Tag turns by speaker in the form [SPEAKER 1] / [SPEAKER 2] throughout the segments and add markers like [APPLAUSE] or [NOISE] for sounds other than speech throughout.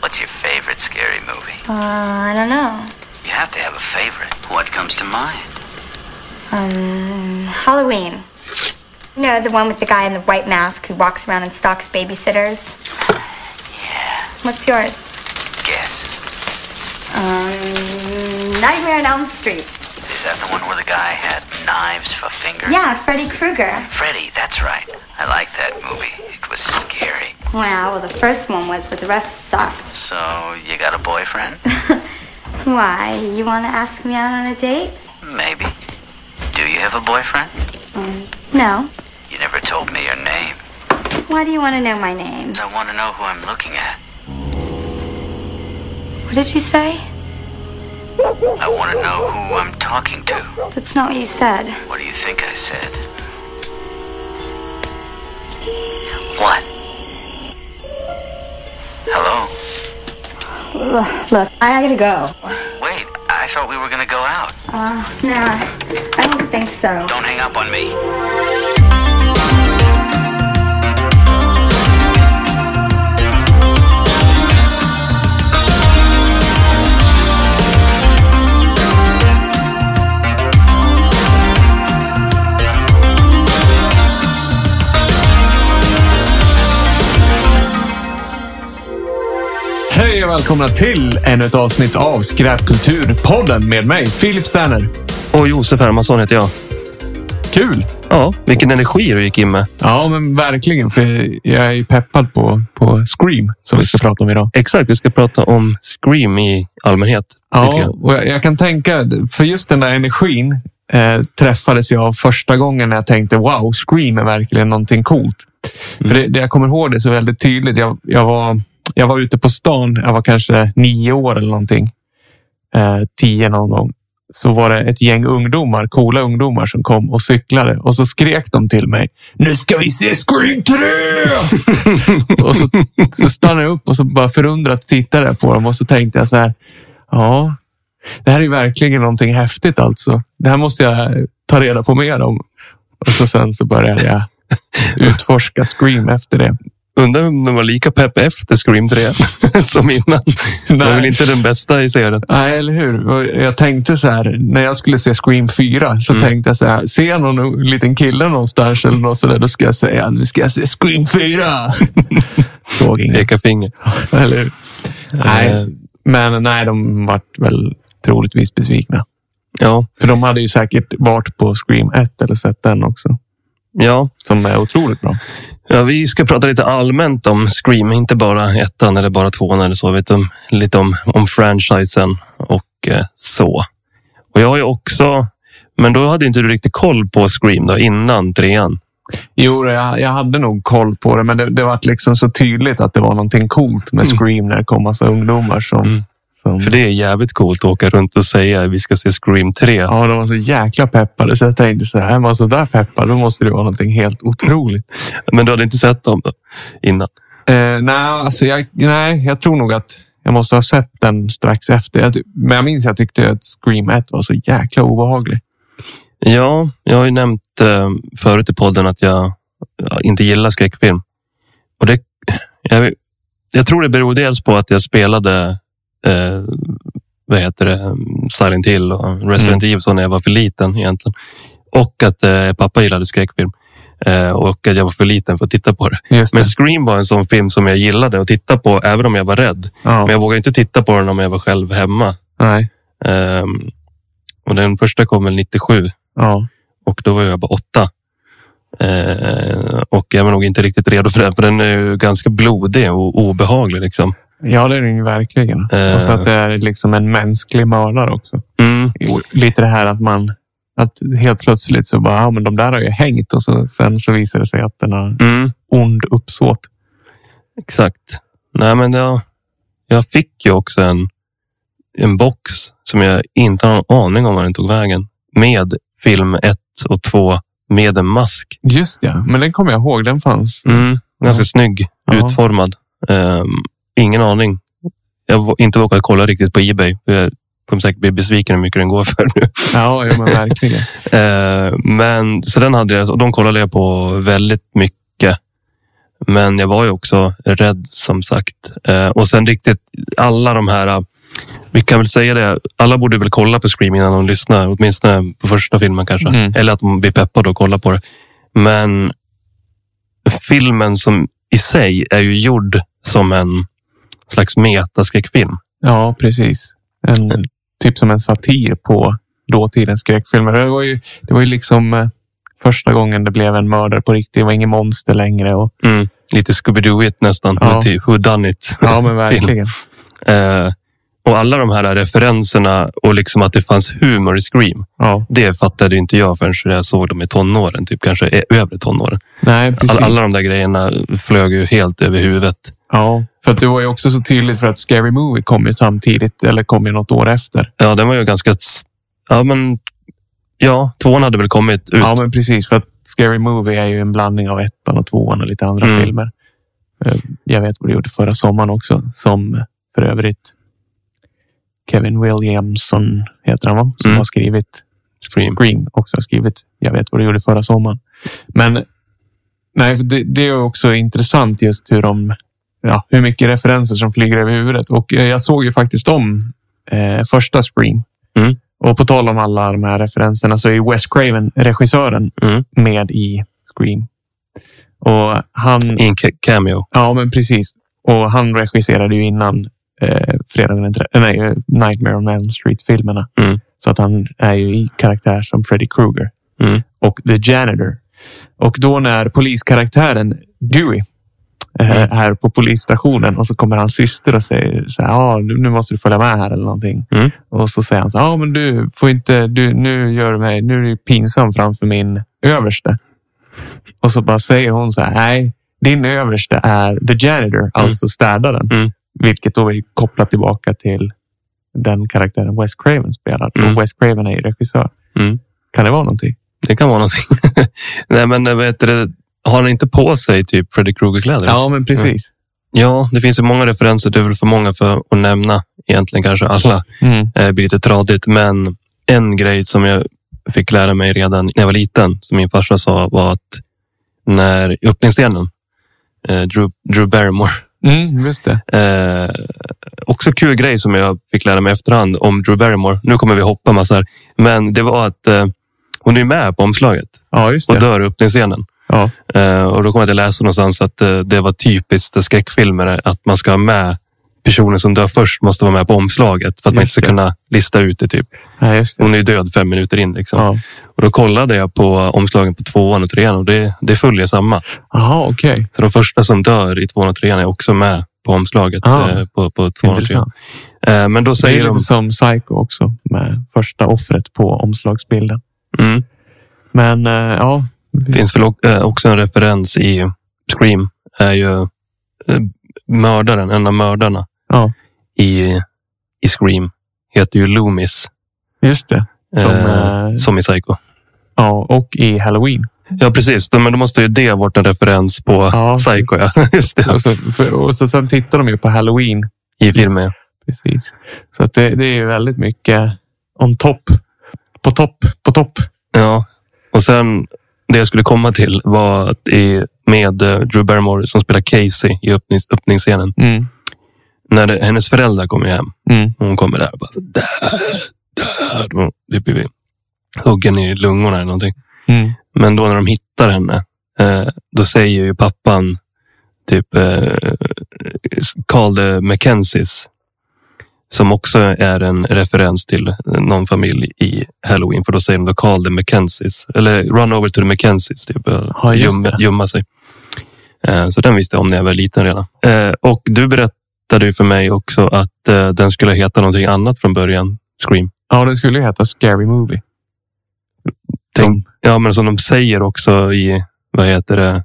[SPEAKER 1] What's your favorite scary movie?
[SPEAKER 2] Uh, I don't know.
[SPEAKER 1] You have to have a favorite. What comes to mind?
[SPEAKER 2] Um, Halloween. You know, the one with the guy in the white mask who walks around and stalks babysitters?
[SPEAKER 1] Yeah.
[SPEAKER 2] What's yours?
[SPEAKER 1] Guess.
[SPEAKER 2] Um, Nightmare on Elm Street.
[SPEAKER 1] Is that the one where the guy had knives for fingers?
[SPEAKER 2] Yeah, Freddy Krueger.
[SPEAKER 1] Freddy, that's right. I like that movie. It was scary.
[SPEAKER 2] Wow, well, the first one was, but the rest sucked.
[SPEAKER 1] So, you got a boyfriend?
[SPEAKER 2] [LAUGHS] Why? You want to ask me out on a date?
[SPEAKER 1] Maybe. Do you have a boyfriend?
[SPEAKER 2] Um, no.
[SPEAKER 1] You never told me your name.
[SPEAKER 2] Why do you want to know my name?
[SPEAKER 1] I want to know who I'm looking at.
[SPEAKER 2] What did you say?
[SPEAKER 1] I want to know who I'm talking to.
[SPEAKER 2] That's not what you said.
[SPEAKER 1] What do you think I said? What? Hello?
[SPEAKER 2] Ugh, Look, I gotta go.
[SPEAKER 1] Wait, I thought we were gonna go out.
[SPEAKER 2] Uh, nah, I don't think so.
[SPEAKER 1] Don't hang up on me.
[SPEAKER 3] Hej och välkomna till ännu ett avsnitt av Skräpkulturpodden med mig, Filip Sterner.
[SPEAKER 4] Och Josef Hermansson heter jag.
[SPEAKER 3] Kul!
[SPEAKER 4] Ja, vilken energi du gick in med.
[SPEAKER 3] Ja, men verkligen. För jag är ju peppad på, på Scream som vi ska prata om idag.
[SPEAKER 4] Exakt, vi ska prata om Scream i allmänhet. lite
[SPEAKER 3] Ja,
[SPEAKER 4] grann.
[SPEAKER 3] och jag, jag kan tänka, för just den där energin eh, träffades jag av första gången när jag tänkte wow, Scream är verkligen någonting coolt.
[SPEAKER 4] Mm.
[SPEAKER 3] För det, det jag kommer ihåg det så väldigt tydligt. Jag, jag, var, jag var ute på stan, jag var kanske nio år eller någonting. Eh, tio någon gång. Så var det ett gäng ungdomar, coola ungdomar som kom och cyklade och så skrek de till mig. Nu ska vi se Scream
[SPEAKER 4] [LAUGHS]
[SPEAKER 3] 3! och så, så stannade jag upp och så bara förundrat tittade jag på dem och så tänkte jag så här. Ja, det här är ju verkligen någonting häftigt alltså. Det här måste jag ta reda på mer om. Och så sen så började [LAUGHS] jag utforska Scream efter det.
[SPEAKER 4] Undrar om de var lika pepp efter Scream 3 [LAUGHS] som innan. Det var väl inte den bästa i serien.
[SPEAKER 3] Nej, eller hur? Och jag tänkte så här, när jag skulle se Scream 4 så tänkte jag så här, ser jag någon liten kille någonstans eller något sådär, då ska jag säga, nu ska jag se Scream 4. [LAUGHS] Såg inget.
[SPEAKER 4] Peka finger.
[SPEAKER 3] Eller hur?
[SPEAKER 4] Eh,
[SPEAKER 3] Nej, men nej, de vart väl troligtvis besvikna.
[SPEAKER 4] Ja,
[SPEAKER 3] För de hade ju säkert varit på Scream 1 eller sett den också.
[SPEAKER 4] ja.
[SPEAKER 3] Som är otroligt bra.
[SPEAKER 4] ja, vi ska prata lite allmänt om Scream. Inte bara ettan eller bara tvåan eller så. Vet du, lite om, om franchisen och eh, så. Och jag har ju också... Men då hade inte du riktigt koll på Scream då, innan trean.
[SPEAKER 3] Jo, då, jag, jag hade nog koll på det, men det, det var liksom så tydligt att det var någonting coolt med Scream när det kom massa ungdomar som... som
[SPEAKER 4] För det är jävligt coolt att åka runt och säga vi ska se Scream 3.
[SPEAKER 3] Ja, de var så jäkla peppade så jag tänkte så här, var så där peppad, då måste det vara någonting helt otroligt.
[SPEAKER 4] Men du hade inte sett dem då, innan?
[SPEAKER 3] Eh, nej, alltså jag, nej, jag tror nog att jag måste ha sett den strax efter. Jag, ty- men jag minns att jag tyckte att Scream 1 var så jäkla obehaglig.
[SPEAKER 4] Ja, jag har ju nämnt eh, förut i podden att jag eh, inte gillar skräckfilm. Och det, jag, jag tror det beror dels på att jag spelade eh, vad heter det? Silent Hill och Resident Evil så när jag var för liten egentligen. Och att eh, pappa gillade skräckfilm. Eh, och att jag var för liten för att titta på det.
[SPEAKER 3] Just det.
[SPEAKER 4] Men Scream var en sån film som jag gillade att titta på även om jag var rädd.
[SPEAKER 3] Ja,
[SPEAKER 4] Men jag vågade inte titta på den om jag var själv hemma.
[SPEAKER 3] nej,
[SPEAKER 4] Ehm, och den första kom väl 97
[SPEAKER 3] ja,
[SPEAKER 4] och då var jag bara åtta. Ehm, och jag var nog inte riktigt redo för den, för den är ju ganska blodig och obehaglig. Liksom.
[SPEAKER 3] ja, det är det ju verkligen.
[SPEAKER 4] Eh.
[SPEAKER 3] Och så att det är liksom en mänsklig mördare också. Jo, lite det här att man att helt plötsligt så bara, ja, men de där har ju hängt och så, sen så visar det sig att den har
[SPEAKER 4] Mm,
[SPEAKER 3] ond uppsåt.
[SPEAKER 4] exakt. Nej, men jag, jag fick ju också en, en box som jag inte har någon aning om var den tog vägen. Med film 1 och 2 med en mask.
[SPEAKER 3] Just ja, men den kommer jag ihåg. Den fanns.
[SPEAKER 4] Mm, ganska
[SPEAKER 3] Ja.
[SPEAKER 4] snygg
[SPEAKER 3] Ja.
[SPEAKER 4] utformad. Ehm, ingen aning. Jag har inte vågat kolla riktigt på Ebay. för Jag kommer säkert bli besviken hur mycket den går för nu.
[SPEAKER 3] Ja, jo, men verkligen.
[SPEAKER 4] Ehm, men, så den hade jag och de kollade jag på väldigt mycket. Men jag var ju också rädd som sagt. Ehm, och sen riktigt alla de här, eh, vi kan väl säga det, alla borde väl kolla på Scream innan de lyssnar, åtminstone på första filmen kanske.
[SPEAKER 3] Mm.
[SPEAKER 4] Eller att de blir peppade och kollar på det. Men filmen som i sig är ju gjord som en slags metaskräckfilm.
[SPEAKER 3] Ja, precis. En, Typ som en satir på dåtidens skräckfilmer. Det var ju, det var ju liksom eh, första gången det blev en mördare på riktigt. Det var ingen monster längre. Och,
[SPEAKER 4] Lite Scooby-Doo-it nästan,
[SPEAKER 3] Mm. Ja.
[SPEAKER 4] ja. Who Done It.
[SPEAKER 3] ja,
[SPEAKER 4] [LAUGHS]
[SPEAKER 3] men verkligen.
[SPEAKER 4] Eh, och alla de här referenserna och liksom att det fanns humor i Scream.
[SPEAKER 3] Ja,
[SPEAKER 4] Det fattade inte jag förrän jag såg dem i tonåren, typ kanske i övre tonåren.
[SPEAKER 3] nej, precis.
[SPEAKER 4] Alla, alla de där grejerna flög ju helt över huvudet.
[SPEAKER 3] Ja, för att det var ju också så tydligt för att Scary Movie kom ju samtidigt eller kom ju något år efter.
[SPEAKER 4] Ja, den var ju ganska... s- Ja, men... Ja, tvåan hade väl kommit ut.
[SPEAKER 3] Ja, men precis. För att Scary Movie är ju en blandning av ettan och tvåan och lite andra
[SPEAKER 4] Mm.
[SPEAKER 3] filmer. Eh, Jag vet vad du gjorde förra sommaren också, som för övrigt Kevin Williamson heter han, va? Som
[SPEAKER 4] Mm.
[SPEAKER 3] har skrivit
[SPEAKER 4] Scream.
[SPEAKER 3] Scream också har skrivit. Jag vet vad du gjorde förra sommaren. Men nej, för det, det är också intressant just hur de, ja, hur mycket referenser som flyger över huvudet. Och eh, jag såg ju faktiskt om eh, första Scream.
[SPEAKER 4] Mm.
[SPEAKER 3] Och på tal om alla de här referenserna så är ju Wes Craven, regissören,
[SPEAKER 4] Mm.
[SPEAKER 3] med i Scream. Och han,
[SPEAKER 4] I en ca- cameo.
[SPEAKER 3] ja men precis. Och han regisserade ju innan eh, fredagen, den tre- nej, eh, Nightmare on Elm Street-filmerna.
[SPEAKER 4] Mm.
[SPEAKER 3] Så att han är ju i karaktär som Freddy Krueger
[SPEAKER 4] Mm.
[SPEAKER 3] och The Janitor. Och då när poliskaraktären Dewey
[SPEAKER 4] Mm.
[SPEAKER 3] eh, är på polisstationen och så kommer hans syster och säger så här, ah, nu nu måste du följa med här eller någonting.
[SPEAKER 4] Mm.
[SPEAKER 3] Och så säger han så här, ah, men du får inte, du, nu gör du mig, nu är du pinsam framför min överste. Och så bara säger hon så här, nej, din överste är the janitor, alltså städaren.
[SPEAKER 4] Mm.
[SPEAKER 3] Vilket då är kopplat tillbaka till den karaktären Wes Craven spelar.
[SPEAKER 4] Mm.
[SPEAKER 3] Och Wes Craven är ju regissör.
[SPEAKER 4] Mm.
[SPEAKER 3] Kan det vara någonting?
[SPEAKER 4] Det kan vara någonting. [LAUGHS] Nej, men eh, vad heter det? Har han inte på sig typ Freddy Krueger-kläder?
[SPEAKER 3] Ja, men precis.
[SPEAKER 4] ja, det finns ju många referenser. Det är väl för många för att nämna egentligen kanske alla.
[SPEAKER 3] Mm.
[SPEAKER 4] Det Eh, blir lite tradigt, men en grej som jag fick lära mig redan när jag var liten, som min farsa sa, var att när i öppningsscenen, eh, Drew, Drew Barrymore,
[SPEAKER 3] Mm, just det.
[SPEAKER 4] eh, också kul grej som jag fick lära mig efterhand om Drew Barrymore. Nu kommer vi hoppa massor, men det var att eh, hon är med på omslaget
[SPEAKER 3] Ja, just
[SPEAKER 4] och
[SPEAKER 3] det.
[SPEAKER 4] dör i öppningsscenen.
[SPEAKER 3] Ja.
[SPEAKER 4] Eh, och då kom jag att jag läste någonstans att eh, det var typiskt i skräckfilmer att man ska ha med personen som dör först måste vara med på omslaget för att man inte
[SPEAKER 3] Just
[SPEAKER 4] ska
[SPEAKER 3] det.
[SPEAKER 4] kunna lista ut det. Typ.
[SPEAKER 3] ja, just det.
[SPEAKER 4] Hon är ju död fem minuter in. Liksom.
[SPEAKER 3] Ja.
[SPEAKER 4] Och då kollade jag på omslagen på tvåan och trean och det, det följer samma.
[SPEAKER 3] Jaha, okej.
[SPEAKER 4] Så de första som dör i tvåan och trean är också med på omslaget
[SPEAKER 3] Ah.
[SPEAKER 4] eh, på, på tvåan och
[SPEAKER 3] Intressant.
[SPEAKER 4] trean. Eh, men
[SPEAKER 3] Det
[SPEAKER 4] då
[SPEAKER 3] är liksom-
[SPEAKER 4] säger
[SPEAKER 3] lite
[SPEAKER 4] de...
[SPEAKER 3] som Psycho också med första offret på omslagsbilden.
[SPEAKER 4] Mm,
[SPEAKER 3] Men eh, ja,
[SPEAKER 4] det finns väl o- eh, också en referens i Scream. är ju eh, mördaren, en av mördarna
[SPEAKER 3] ja,
[SPEAKER 4] i, i Scream heter ju Loomis.
[SPEAKER 3] just det. Som,
[SPEAKER 4] eh,
[SPEAKER 3] eh,
[SPEAKER 4] som i Psycho.
[SPEAKER 3] Ja, och i Halloween.
[SPEAKER 4] Ja, precis. Men då måste ju det ha varit en referens på
[SPEAKER 3] Ja.
[SPEAKER 4] Psycho. Ja. [LAUGHS] Just det.
[SPEAKER 3] Och, så, för, och så, sen tittar de ju på Halloween.
[SPEAKER 4] I filmen. ja.
[SPEAKER 3] Precis. Så att det, det är ju väldigt mycket on top. På topp, på topp.
[SPEAKER 4] Ja, och sen det jag skulle komma till var att i, med eh, Drew Barrymore som spelar Casey i öppnings, öppningsscenen.
[SPEAKER 3] Mm.
[SPEAKER 4] När det, hennes föräldrar kommer hem
[SPEAKER 3] Mm.
[SPEAKER 4] och hon kommer där och bara död, död. Det blir vi huggen i lungorna eller någonting.
[SPEAKER 3] Mm.
[SPEAKER 4] Men då när de hittar henne, eh, då säger ju pappan typ eh, Carl the Mackenzies. Som också är en referens till någon familj i Halloween. För då säger de då Carl the Mackenzies. Eller Run over to the Mackenzies. Typ,
[SPEAKER 3] Ja, just
[SPEAKER 4] gömma,
[SPEAKER 3] det.
[SPEAKER 4] gömma sig. Eh, så den visste jag om när jag var liten redan. Eh, och du berättade ju för mig också att eh, den skulle heta någonting annat från början. Scream.
[SPEAKER 3] Ja, den skulle ju heta Scary Movie.
[SPEAKER 4] Tänk- Ja, men som de säger också i, vad heter det?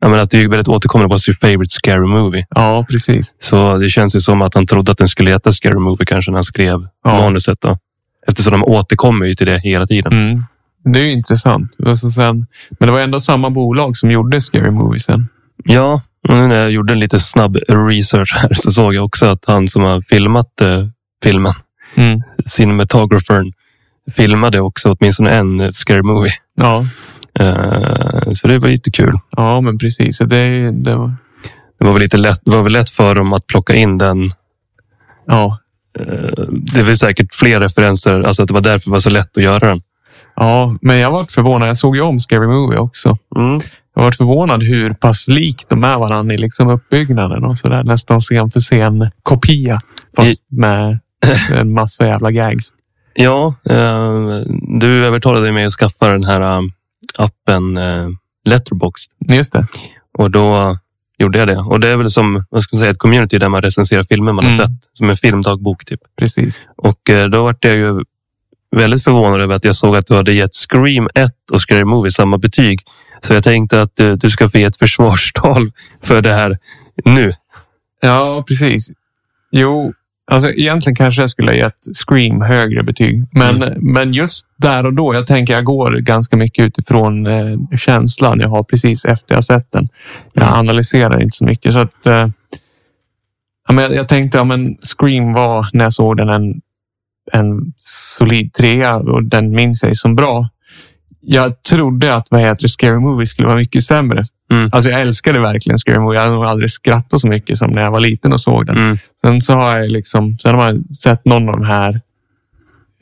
[SPEAKER 4] Ja, men att det är ju väldigt återkommande. What's your favorite scary movie?
[SPEAKER 3] Ja, precis.
[SPEAKER 4] Så det känns ju som att han trodde att den skulle heta Scary Movie kanske när han skrev
[SPEAKER 3] Ja.
[SPEAKER 4] manuset. Då. Eftersom de återkommer ju till det hela tiden.
[SPEAKER 3] Mm. Det är ju intressant. Och så sen, men det var ändå samma bolag som gjorde Scary Movie sen.
[SPEAKER 4] Ja, och nu när jag gjorde en lite snabb research här så såg jag också att han som har filmat eh, filmen,
[SPEAKER 3] Mm.
[SPEAKER 4] cinematographern, filmade också åtminstone en eh, Scary Movie.
[SPEAKER 3] Ja.
[SPEAKER 4] Eh, så det var lite kul.
[SPEAKER 3] ja, men precis. Så Det, är ju- det var...
[SPEAKER 4] Det var väl lite lätt, det var väl lätt för dem att plocka in den
[SPEAKER 3] Ja.
[SPEAKER 4] Eh, Det är väl säkert fler referenser. Alltså att det var därför det var så lätt att göra den.
[SPEAKER 3] ja, men jag varit förvånad. Jag såg ju om Scary Movie också. Jag varit förvånad hur pass likt de är varandra i liksom uppbyggnaden och sådär. Nästan scen för scen kopia. Fast med en massa jävla gags.
[SPEAKER 4] Ja, eh, du övertalade mig att skaffa den här eh, appen eh, Letterboxd.
[SPEAKER 3] Just det.
[SPEAKER 4] Och då gjorde jag det. Och det är väl som vad ska man säga, ett community där man recenserar filmer man har
[SPEAKER 3] Mm.
[SPEAKER 4] sett. Som en filmdagbok typ.
[SPEAKER 3] Precis.
[SPEAKER 4] Och eh, då vart jag ju väldigt förvånad över att jag såg att du hade gett Scream 1 och Scary Movie samma betyg. Så jag tänkte att eh, du ska få ge ett försvarstal för det här nu.
[SPEAKER 3] Ja, precis. Jo, alltså egentligen kanske jag skulle ha gett Scream högre betyg. Men, men just där och då, jag tänker jag går ganska mycket utifrån eh, känslan jag har precis efter jag sett den. Jag
[SPEAKER 4] Mm.
[SPEAKER 3] analyserar inte så mycket. Så att, eh, ja, men jag, jag tänkte att ja, men Scream var, när jag såg den, en, en solid trea och den minns jag som bra. Jag trodde att vad heter det, Scary Movie skulle vara mycket sämre.
[SPEAKER 4] Mm.
[SPEAKER 3] Alltså jag älskade verkligen Scary Movie. Jag hade nog aldrig skrattat så mycket som när jag var liten och såg den.
[SPEAKER 4] Mm.
[SPEAKER 3] Sen så har jag liksom, sen har man sett någon av de här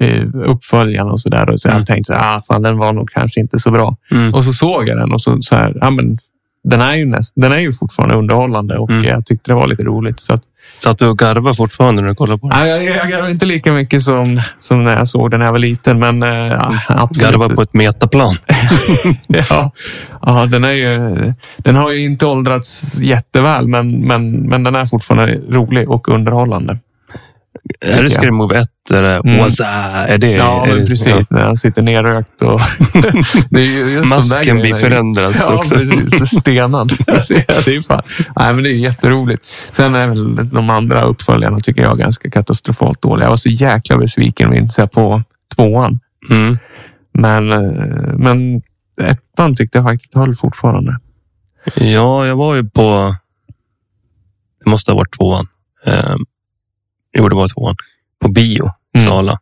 [SPEAKER 3] eh, uppföljarna och så där och så har
[SPEAKER 4] Mm.
[SPEAKER 3] jag tänkt så här, ah, fan den var nog kanske inte så bra.
[SPEAKER 4] Mm.
[SPEAKER 3] Och så såg jag den och så, så här, ah, men den är ju näst, den är ju fortfarande underhållande och
[SPEAKER 4] Mm.
[SPEAKER 3] jag tyckte det var lite roligt. Så att,
[SPEAKER 4] Så att du garvar fortfarande när du kollar på den.
[SPEAKER 3] ah, jag, jag garvade inte lika mycket som, som när jag såg den när jag var liten, men eh, ja, absolut.
[SPEAKER 4] Garvar på
[SPEAKER 3] [LAUGHS]
[SPEAKER 4] ett metaplan.
[SPEAKER 3] Ja, ja den, är ju, den har ju inte åldrats jätteväl, men, men, men den är fortfarande rolig och underhållande.
[SPEAKER 4] Är det
[SPEAKER 3] jag.
[SPEAKER 4] Scary Movie 1? Är det
[SPEAKER 3] Mm.
[SPEAKER 4] Waza? Är det,
[SPEAKER 3] Ja,
[SPEAKER 4] är
[SPEAKER 3] men
[SPEAKER 4] det,
[SPEAKER 3] precis. När han sitter nerrökt och... [LAUGHS] det är ju just de där
[SPEAKER 4] Masken blir
[SPEAKER 3] grejerna.
[SPEAKER 4] förändrad
[SPEAKER 3] Ja,
[SPEAKER 4] också.
[SPEAKER 3] precis.
[SPEAKER 4] [LAUGHS]
[SPEAKER 3] Stenad. Alltså, ja, det, är fan. Nej, men det är jätteroligt. Sen är väl de andra uppföljarna tycker jag ganska katastrofalt dåliga. Jag var så jäkla besviken minns jag, på tvåan.
[SPEAKER 4] Mm.
[SPEAKER 3] Men, eh, men ettan tyckte jag faktiskt höll fortfarande.
[SPEAKER 4] Ja, jag var ju på... Det måste ha varit tvåan. Eh, jo, det var tvåan. På bio, i
[SPEAKER 3] Mm.
[SPEAKER 4] Sala.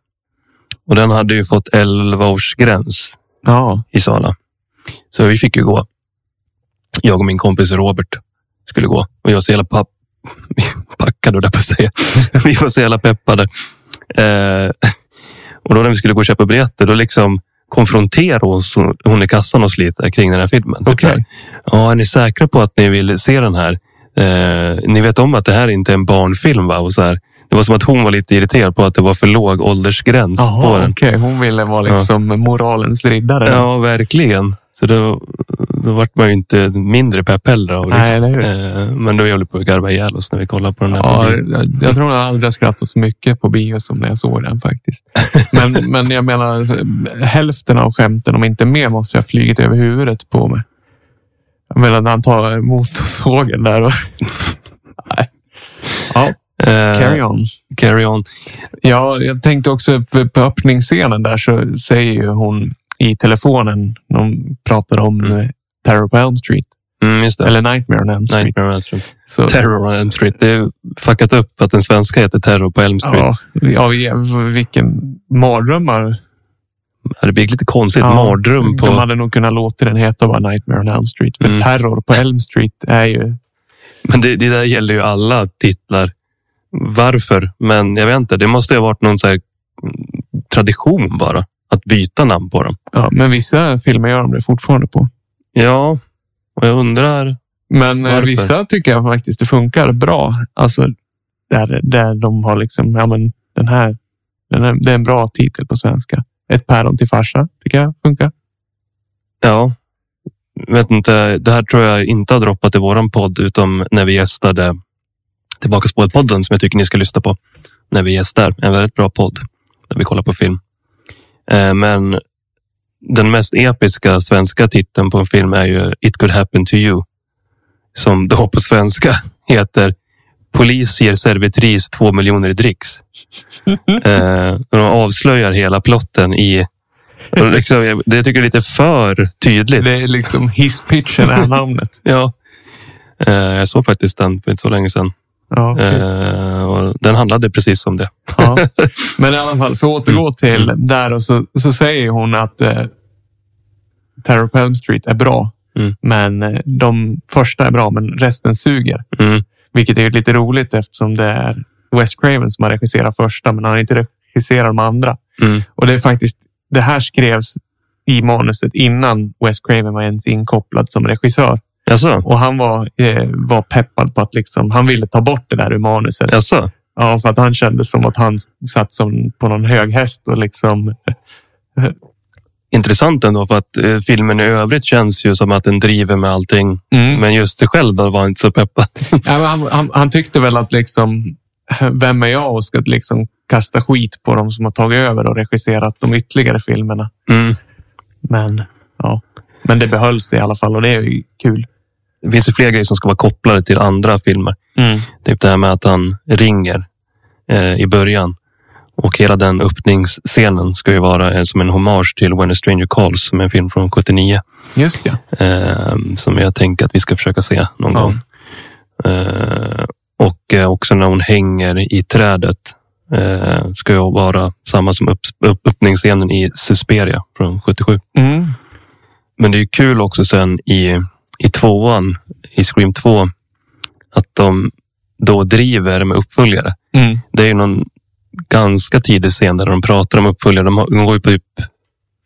[SPEAKER 4] Och den hade ju fått 11-årsgräns
[SPEAKER 3] Ja,
[SPEAKER 4] i Sala. Så vi fick ju gå. Jag och min kompis Robert skulle gå. Och jag var så jävla papp... [LAUGHS] packade, höll jag på att säga. [LAUGHS] vi var så jävla peppade. Eh, [LAUGHS] och då när vi skulle gå och köpa biljetter, då liksom konfronterade oss, hon i kassan oss lite kring den här filmen. Typ
[SPEAKER 3] Okej.
[SPEAKER 4] där. Ja, är ni säkra på att ni vill se den här? Eh, ni vet om att det här inte är en barnfilm va? Och så här. Det var som att hon var lite irriterad på att det var för låg åldersgräns på
[SPEAKER 3] Jaha,
[SPEAKER 4] den.
[SPEAKER 3] okej. Hon ville vara liksom moralens riddare.
[SPEAKER 4] Ja, verkligen. Så då, då vart man ju inte mindre pepp heller. av det,
[SPEAKER 3] Nej, eller hur?
[SPEAKER 4] Eh, Men då höll vi på att garva ihjäl oss när vi kollade på den där.
[SPEAKER 3] Ja,
[SPEAKER 4] filmen.
[SPEAKER 3] jag, jag tror nog jag aldrig har skrattat så mycket på bio som när jag såg den [LAUGHS] faktiskt. Men, men jag menar, hälften av skämten, om inte mer, måste jag ha flugit över huvudet på mig. Jag menar när han tar motorsågen där och... [LAUGHS] Nej. Ja,
[SPEAKER 4] Eh,
[SPEAKER 3] carry on.
[SPEAKER 4] Carry on.
[SPEAKER 3] Ja, jag tänkte också för på öppningsscenen där så säger ju hon i telefonen när hon pratar om
[SPEAKER 4] Mm.
[SPEAKER 3] mm. Terror på Elm Street.
[SPEAKER 4] Mm, just det.
[SPEAKER 3] Eller Nightmare on Elm Street.
[SPEAKER 4] Nightmare on Elm Street.
[SPEAKER 3] Så,
[SPEAKER 4] Terror on Elm Street. Det är fuckat upp att den svenska heter Terror på Elm Street.
[SPEAKER 3] ja, ja, vi- vilken mardrömmar
[SPEAKER 4] Det blir lite konstigt.
[SPEAKER 3] Ja,
[SPEAKER 4] Mardröm på...
[SPEAKER 3] De hade nog kunnat låta den heta bara Nightmare on Elm Street. Men
[SPEAKER 4] Mm.
[SPEAKER 3] Terror på Elm Street är ju...
[SPEAKER 4] Men det, det där gäller ju alla titlar. Varför? Men jag vet inte. Det måste ju ha varit någon så här mm, tradition bara. Att byta namn på dem.
[SPEAKER 3] Ja, men vissa filmer gör de det fortfarande på.
[SPEAKER 4] Ja, och jag undrar.
[SPEAKER 3] Men eh,
[SPEAKER 4] Varför?
[SPEAKER 3] vissa tycker jag faktiskt det funkar bra. Alltså där, där de har liksom, ja men den här, den här, det är en bra titel på svenska. Ett päron till farsa tycker jag funkar.
[SPEAKER 4] Ja, vet inte. Det här tror jag inte har droppat i våran podd, utom när vi gästade Tillbaka spåret-podden som jag tycker ni ska lyssna på när vi gästar. En väldigt bra podd där vi kollar på film. Eh, Men den mest episka svenska titeln på en film är ju It could happen to you. Som då på svenska [LAUGHS] heter Polis ger servitris två miljoner i dricks. Eh, och de avslöjar hela plotten i... och Liksom, jag- det tycker jag är lite för tydligt.
[SPEAKER 3] Det är liksom hisspitchen är namnet.
[SPEAKER 4] Ja. Eh, jag såg faktiskt den för inte så länge sedan.
[SPEAKER 3] Ja, okej.
[SPEAKER 4] Eh, och den handlade precis om det.
[SPEAKER 3] Ja. [LAUGHS] Men i alla fall, för att återgå
[SPEAKER 4] Mm.
[SPEAKER 3] till där och så, så säger hon att eh, Terror på Elm Street är bra.
[SPEAKER 4] Mm.
[SPEAKER 3] Men eh, de första är bra, men resten suger.
[SPEAKER 4] Mm.
[SPEAKER 3] Vilket är ju lite roligt eftersom det är Wes Craven som har regisserat första, men han har inte regisserat de andra.
[SPEAKER 4] Mm.
[SPEAKER 3] Och det är faktiskt, det här skrevs i manuset innan Wes Craven var ens inkopplad som regissör.
[SPEAKER 4] Jaså?
[SPEAKER 3] Och han var, eh, var peppad på att liksom, han ville ta bort det där ur manuset.
[SPEAKER 4] Jaså?
[SPEAKER 3] Ja, för att han kände som att han satt som på någon hög häst och liksom...
[SPEAKER 4] Intressant ändå för att eh, filmen i övrigt känns ju som att den driver med allting.
[SPEAKER 3] Mm.
[SPEAKER 4] Men just det själv då var han inte så peppad.
[SPEAKER 3] Ja, men han, han, han tyckte väl att liksom, vem är jag och ska liksom kasta skit på dem som har tagit över och regisserat de ytterligare filmerna.
[SPEAKER 4] Mm.
[SPEAKER 3] Men ja, men det behölls i alla fall och det är ju kul.
[SPEAKER 4] Det finns ju fler grejer som ska vara kopplade till andra filmer. Typ det här med att han ringer eh, i början. Och hela den öppningsscenen ska ju vara eh, som en hommage till When a Stranger Calls, som är en film från 79.
[SPEAKER 3] Just ja.
[SPEAKER 4] Eh, som jag tänker att vi ska försöka se någon
[SPEAKER 3] Ja.
[SPEAKER 4] gång. Eh, och eh, också när hon hänger i trädet. Eh, ska ju vara samma som upp, upp, öppningsscenen i Susperia från 77.
[SPEAKER 3] Mm.
[SPEAKER 4] Men det är ju kul också sen i, i tvåan, i Scream 2, att de då driver med uppföljare.
[SPEAKER 3] Mm.
[SPEAKER 4] Det är ju någon ganska tidig scen där de pratar om uppföljare. De, har, de går ju på typ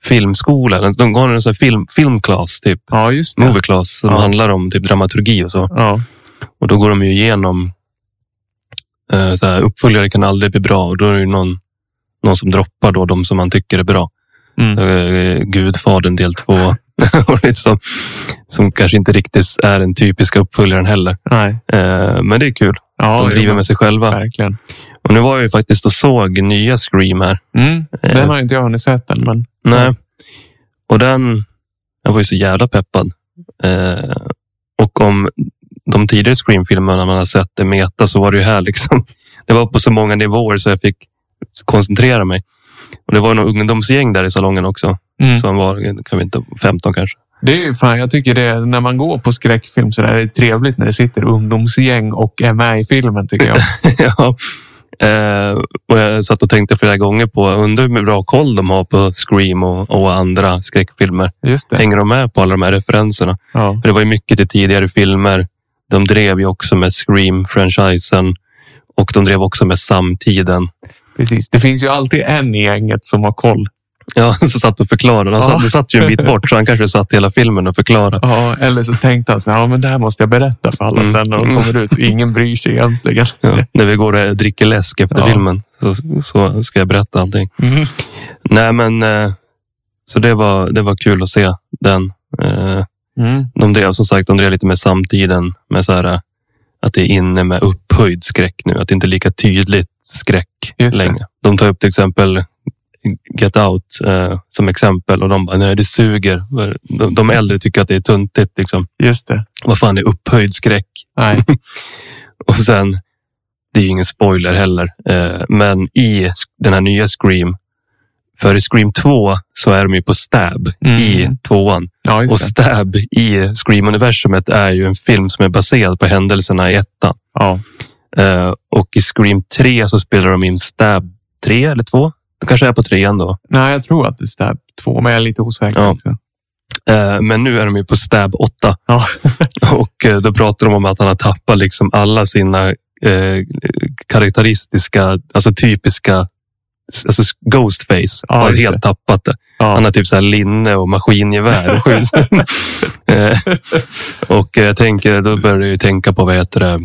[SPEAKER 4] filmskola. eller De går en sån här film, filmklass, typ
[SPEAKER 3] Ja, just det.
[SPEAKER 4] movie class, som
[SPEAKER 3] Ja.
[SPEAKER 4] handlar om typ dramaturgi och så.
[SPEAKER 3] Ja.
[SPEAKER 4] Och då går de ju igenom eh, så här, uppföljare kan aldrig bli bra. Och då är det ju någon, någon som droppar då de som man tycker är bra.
[SPEAKER 3] Mm.
[SPEAKER 4] Eh, Gudfadern del två. [LAUGHS] och liksom, som kanske inte riktigt är den typiska uppföljaren heller.
[SPEAKER 3] Nej.
[SPEAKER 4] Eh, men det är kul.
[SPEAKER 3] Ja,
[SPEAKER 4] De
[SPEAKER 3] jo,
[SPEAKER 4] driver
[SPEAKER 3] men
[SPEAKER 4] med sig själva.
[SPEAKER 3] Verkligen.
[SPEAKER 4] Och nu var jag ju faktiskt och såg nya Scream här.
[SPEAKER 3] Mm.
[SPEAKER 4] Eh,
[SPEAKER 3] Den har inte jag hunnit sett än, men
[SPEAKER 4] Nej. Och den, jag var ju så jävla peppad. Eh, och om de tidigare Scream-filmerna man har sett är meta så var det ju här liksom. [LAUGHS] Det var på så många nivåer så jag fick koncentrera mig. Och det var nog ungdomsgäng där i salongen också.
[SPEAKER 3] Mm.
[SPEAKER 4] Som var, kan vi inte, 15 kanske. [LAUGHS]
[SPEAKER 3] det är ju fan, jag tycker det, när man går på skräckfilm så där är det trevligt när det sitter ungdomsgäng och är med i filmen tycker
[SPEAKER 4] [LAUGHS]
[SPEAKER 3] jag.
[SPEAKER 4] ja. Eh, och jag satt och tänkte flera gånger på, undrar hur bra koll de har på Scream och, och andra skräckfilmer.
[SPEAKER 3] Just det.
[SPEAKER 4] Hänger de med på alla de här referenserna?
[SPEAKER 3] Ja.
[SPEAKER 4] För det var ju mycket till tidigare filmer. De drev ju också med Scream-franchisen och de drev också med samtiden.
[SPEAKER 3] Precis. Det finns ju alltid en i gänget som har koll.
[SPEAKER 4] Ja, [LAUGHS] så satt och förklarade. Han satt,
[SPEAKER 3] Ja.
[SPEAKER 4] det satt ju en bit bort, så han kanske satt hela filmen och förklarade.
[SPEAKER 3] Ja, eller så tänkte han så här, ja, men det här måste jag berätta för alla
[SPEAKER 4] Mm.
[SPEAKER 3] sen när de
[SPEAKER 4] Mm.
[SPEAKER 3] kommer ut och ingen bryr sig egentligen.
[SPEAKER 4] [LAUGHS] Ja, när vi går och dricker läsk efter
[SPEAKER 3] Ja.
[SPEAKER 4] filmen så, så ska jag berätta allting.
[SPEAKER 3] Mm.
[SPEAKER 4] Nej, men eh, så det var, det var kul att se den. Eh,
[SPEAKER 3] Mm.
[SPEAKER 4] De drev som sagt, de drev lite med samtiden. Med så här, eh, att det är inne med upphöjd skräck nu. Att det inte är lika tydligt skräck
[SPEAKER 3] Just det.
[SPEAKER 4] längre. De tar upp till exempel Get Out eh, som exempel och de bara, nej det suger. De, de äldre tycker att det är tuntigt. Liksom.
[SPEAKER 3] Just det.
[SPEAKER 4] Vad fan är upphöjd skräck?
[SPEAKER 3] Nej.
[SPEAKER 4] Och sen, det är ju ingen spoiler heller, eh, men i den här nya Scream, för i Scream 2 så är de ju på Stab
[SPEAKER 3] Mm.
[SPEAKER 4] i tvåan.
[SPEAKER 3] Ja,
[SPEAKER 4] Och
[SPEAKER 3] just det.
[SPEAKER 4] Stab i Scream-universumet är ju en film som är baserad på händelserna i ettan.
[SPEAKER 3] Ja.
[SPEAKER 4] Eh, och i Scream 3 så spelar de in Stab 3 eller 2. Det kanske är på trean då.
[SPEAKER 3] Nej, jag tror att det är stab två, men jag är lite osäker.
[SPEAKER 4] Ja.
[SPEAKER 3] också.
[SPEAKER 4] Eh, men nu är de ju på Stab 8.
[SPEAKER 3] Ja.
[SPEAKER 4] [LAUGHS] och eh, då pratar de om att han har tappat liksom alla sina eh, karaktäristiska, alltså typiska Alltså Ghostface
[SPEAKER 3] Ja,
[SPEAKER 4] har
[SPEAKER 3] just
[SPEAKER 4] helt tappat det. Han
[SPEAKER 3] Ja.
[SPEAKER 4] har typ så här linne och maskingevär.
[SPEAKER 3] [LAUGHS]
[SPEAKER 4] och skjut. Eh, och eh, jag tänker, då börjar jag ju tänka på vad heter det?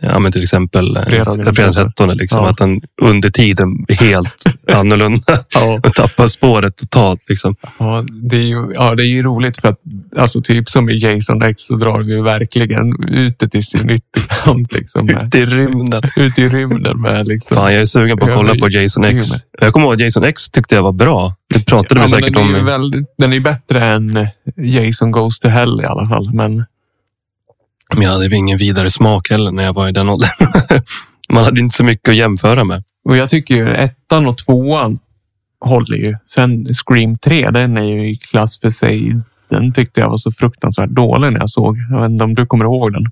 [SPEAKER 4] Ja, men till exempel eh,
[SPEAKER 3] Fredag den
[SPEAKER 4] Fredag den 13. Liksom,
[SPEAKER 3] Ja.
[SPEAKER 4] Att han under tiden är
[SPEAKER 3] [LAUGHS]
[SPEAKER 4] helt annorlunda
[SPEAKER 3] Ja.
[SPEAKER 4] och tappar spåret totalt. Liksom.
[SPEAKER 3] Ja, det är ju, ja, det är ju roligt för att alltså, typ som i Jason X så drar vi ju verkligen ut det till sin ytterkant. Liksom, med,
[SPEAKER 4] Ut i rymden.
[SPEAKER 3] ut i rymden med liksom.
[SPEAKER 4] Fan, jag är sugen på att
[SPEAKER 3] Ja,
[SPEAKER 4] kolla
[SPEAKER 3] men-
[SPEAKER 4] på Jason X.
[SPEAKER 3] jag
[SPEAKER 4] Jag kommer ihåg att Jason X tyckte jag var bra. Det pratade vi
[SPEAKER 3] men
[SPEAKER 4] säkert
[SPEAKER 3] den,
[SPEAKER 4] om.
[SPEAKER 3] är ju
[SPEAKER 4] i-
[SPEAKER 3] väldigt, den är ju bättre än Jason Goes to Hell i alla fall. Men
[SPEAKER 4] Men jag hade ju ingen vidare smak heller när jag var i den åldern. [LAUGHS] Man hade inte så mycket att jämföra med.
[SPEAKER 3] Och jag tycker ju ettan och tvåan håller ju. Sen Scream 3, den är ju i klass för sig. Den tyckte jag var så fruktansvärt dålig när jag såg. Jag vet inte om du kommer ihåg den?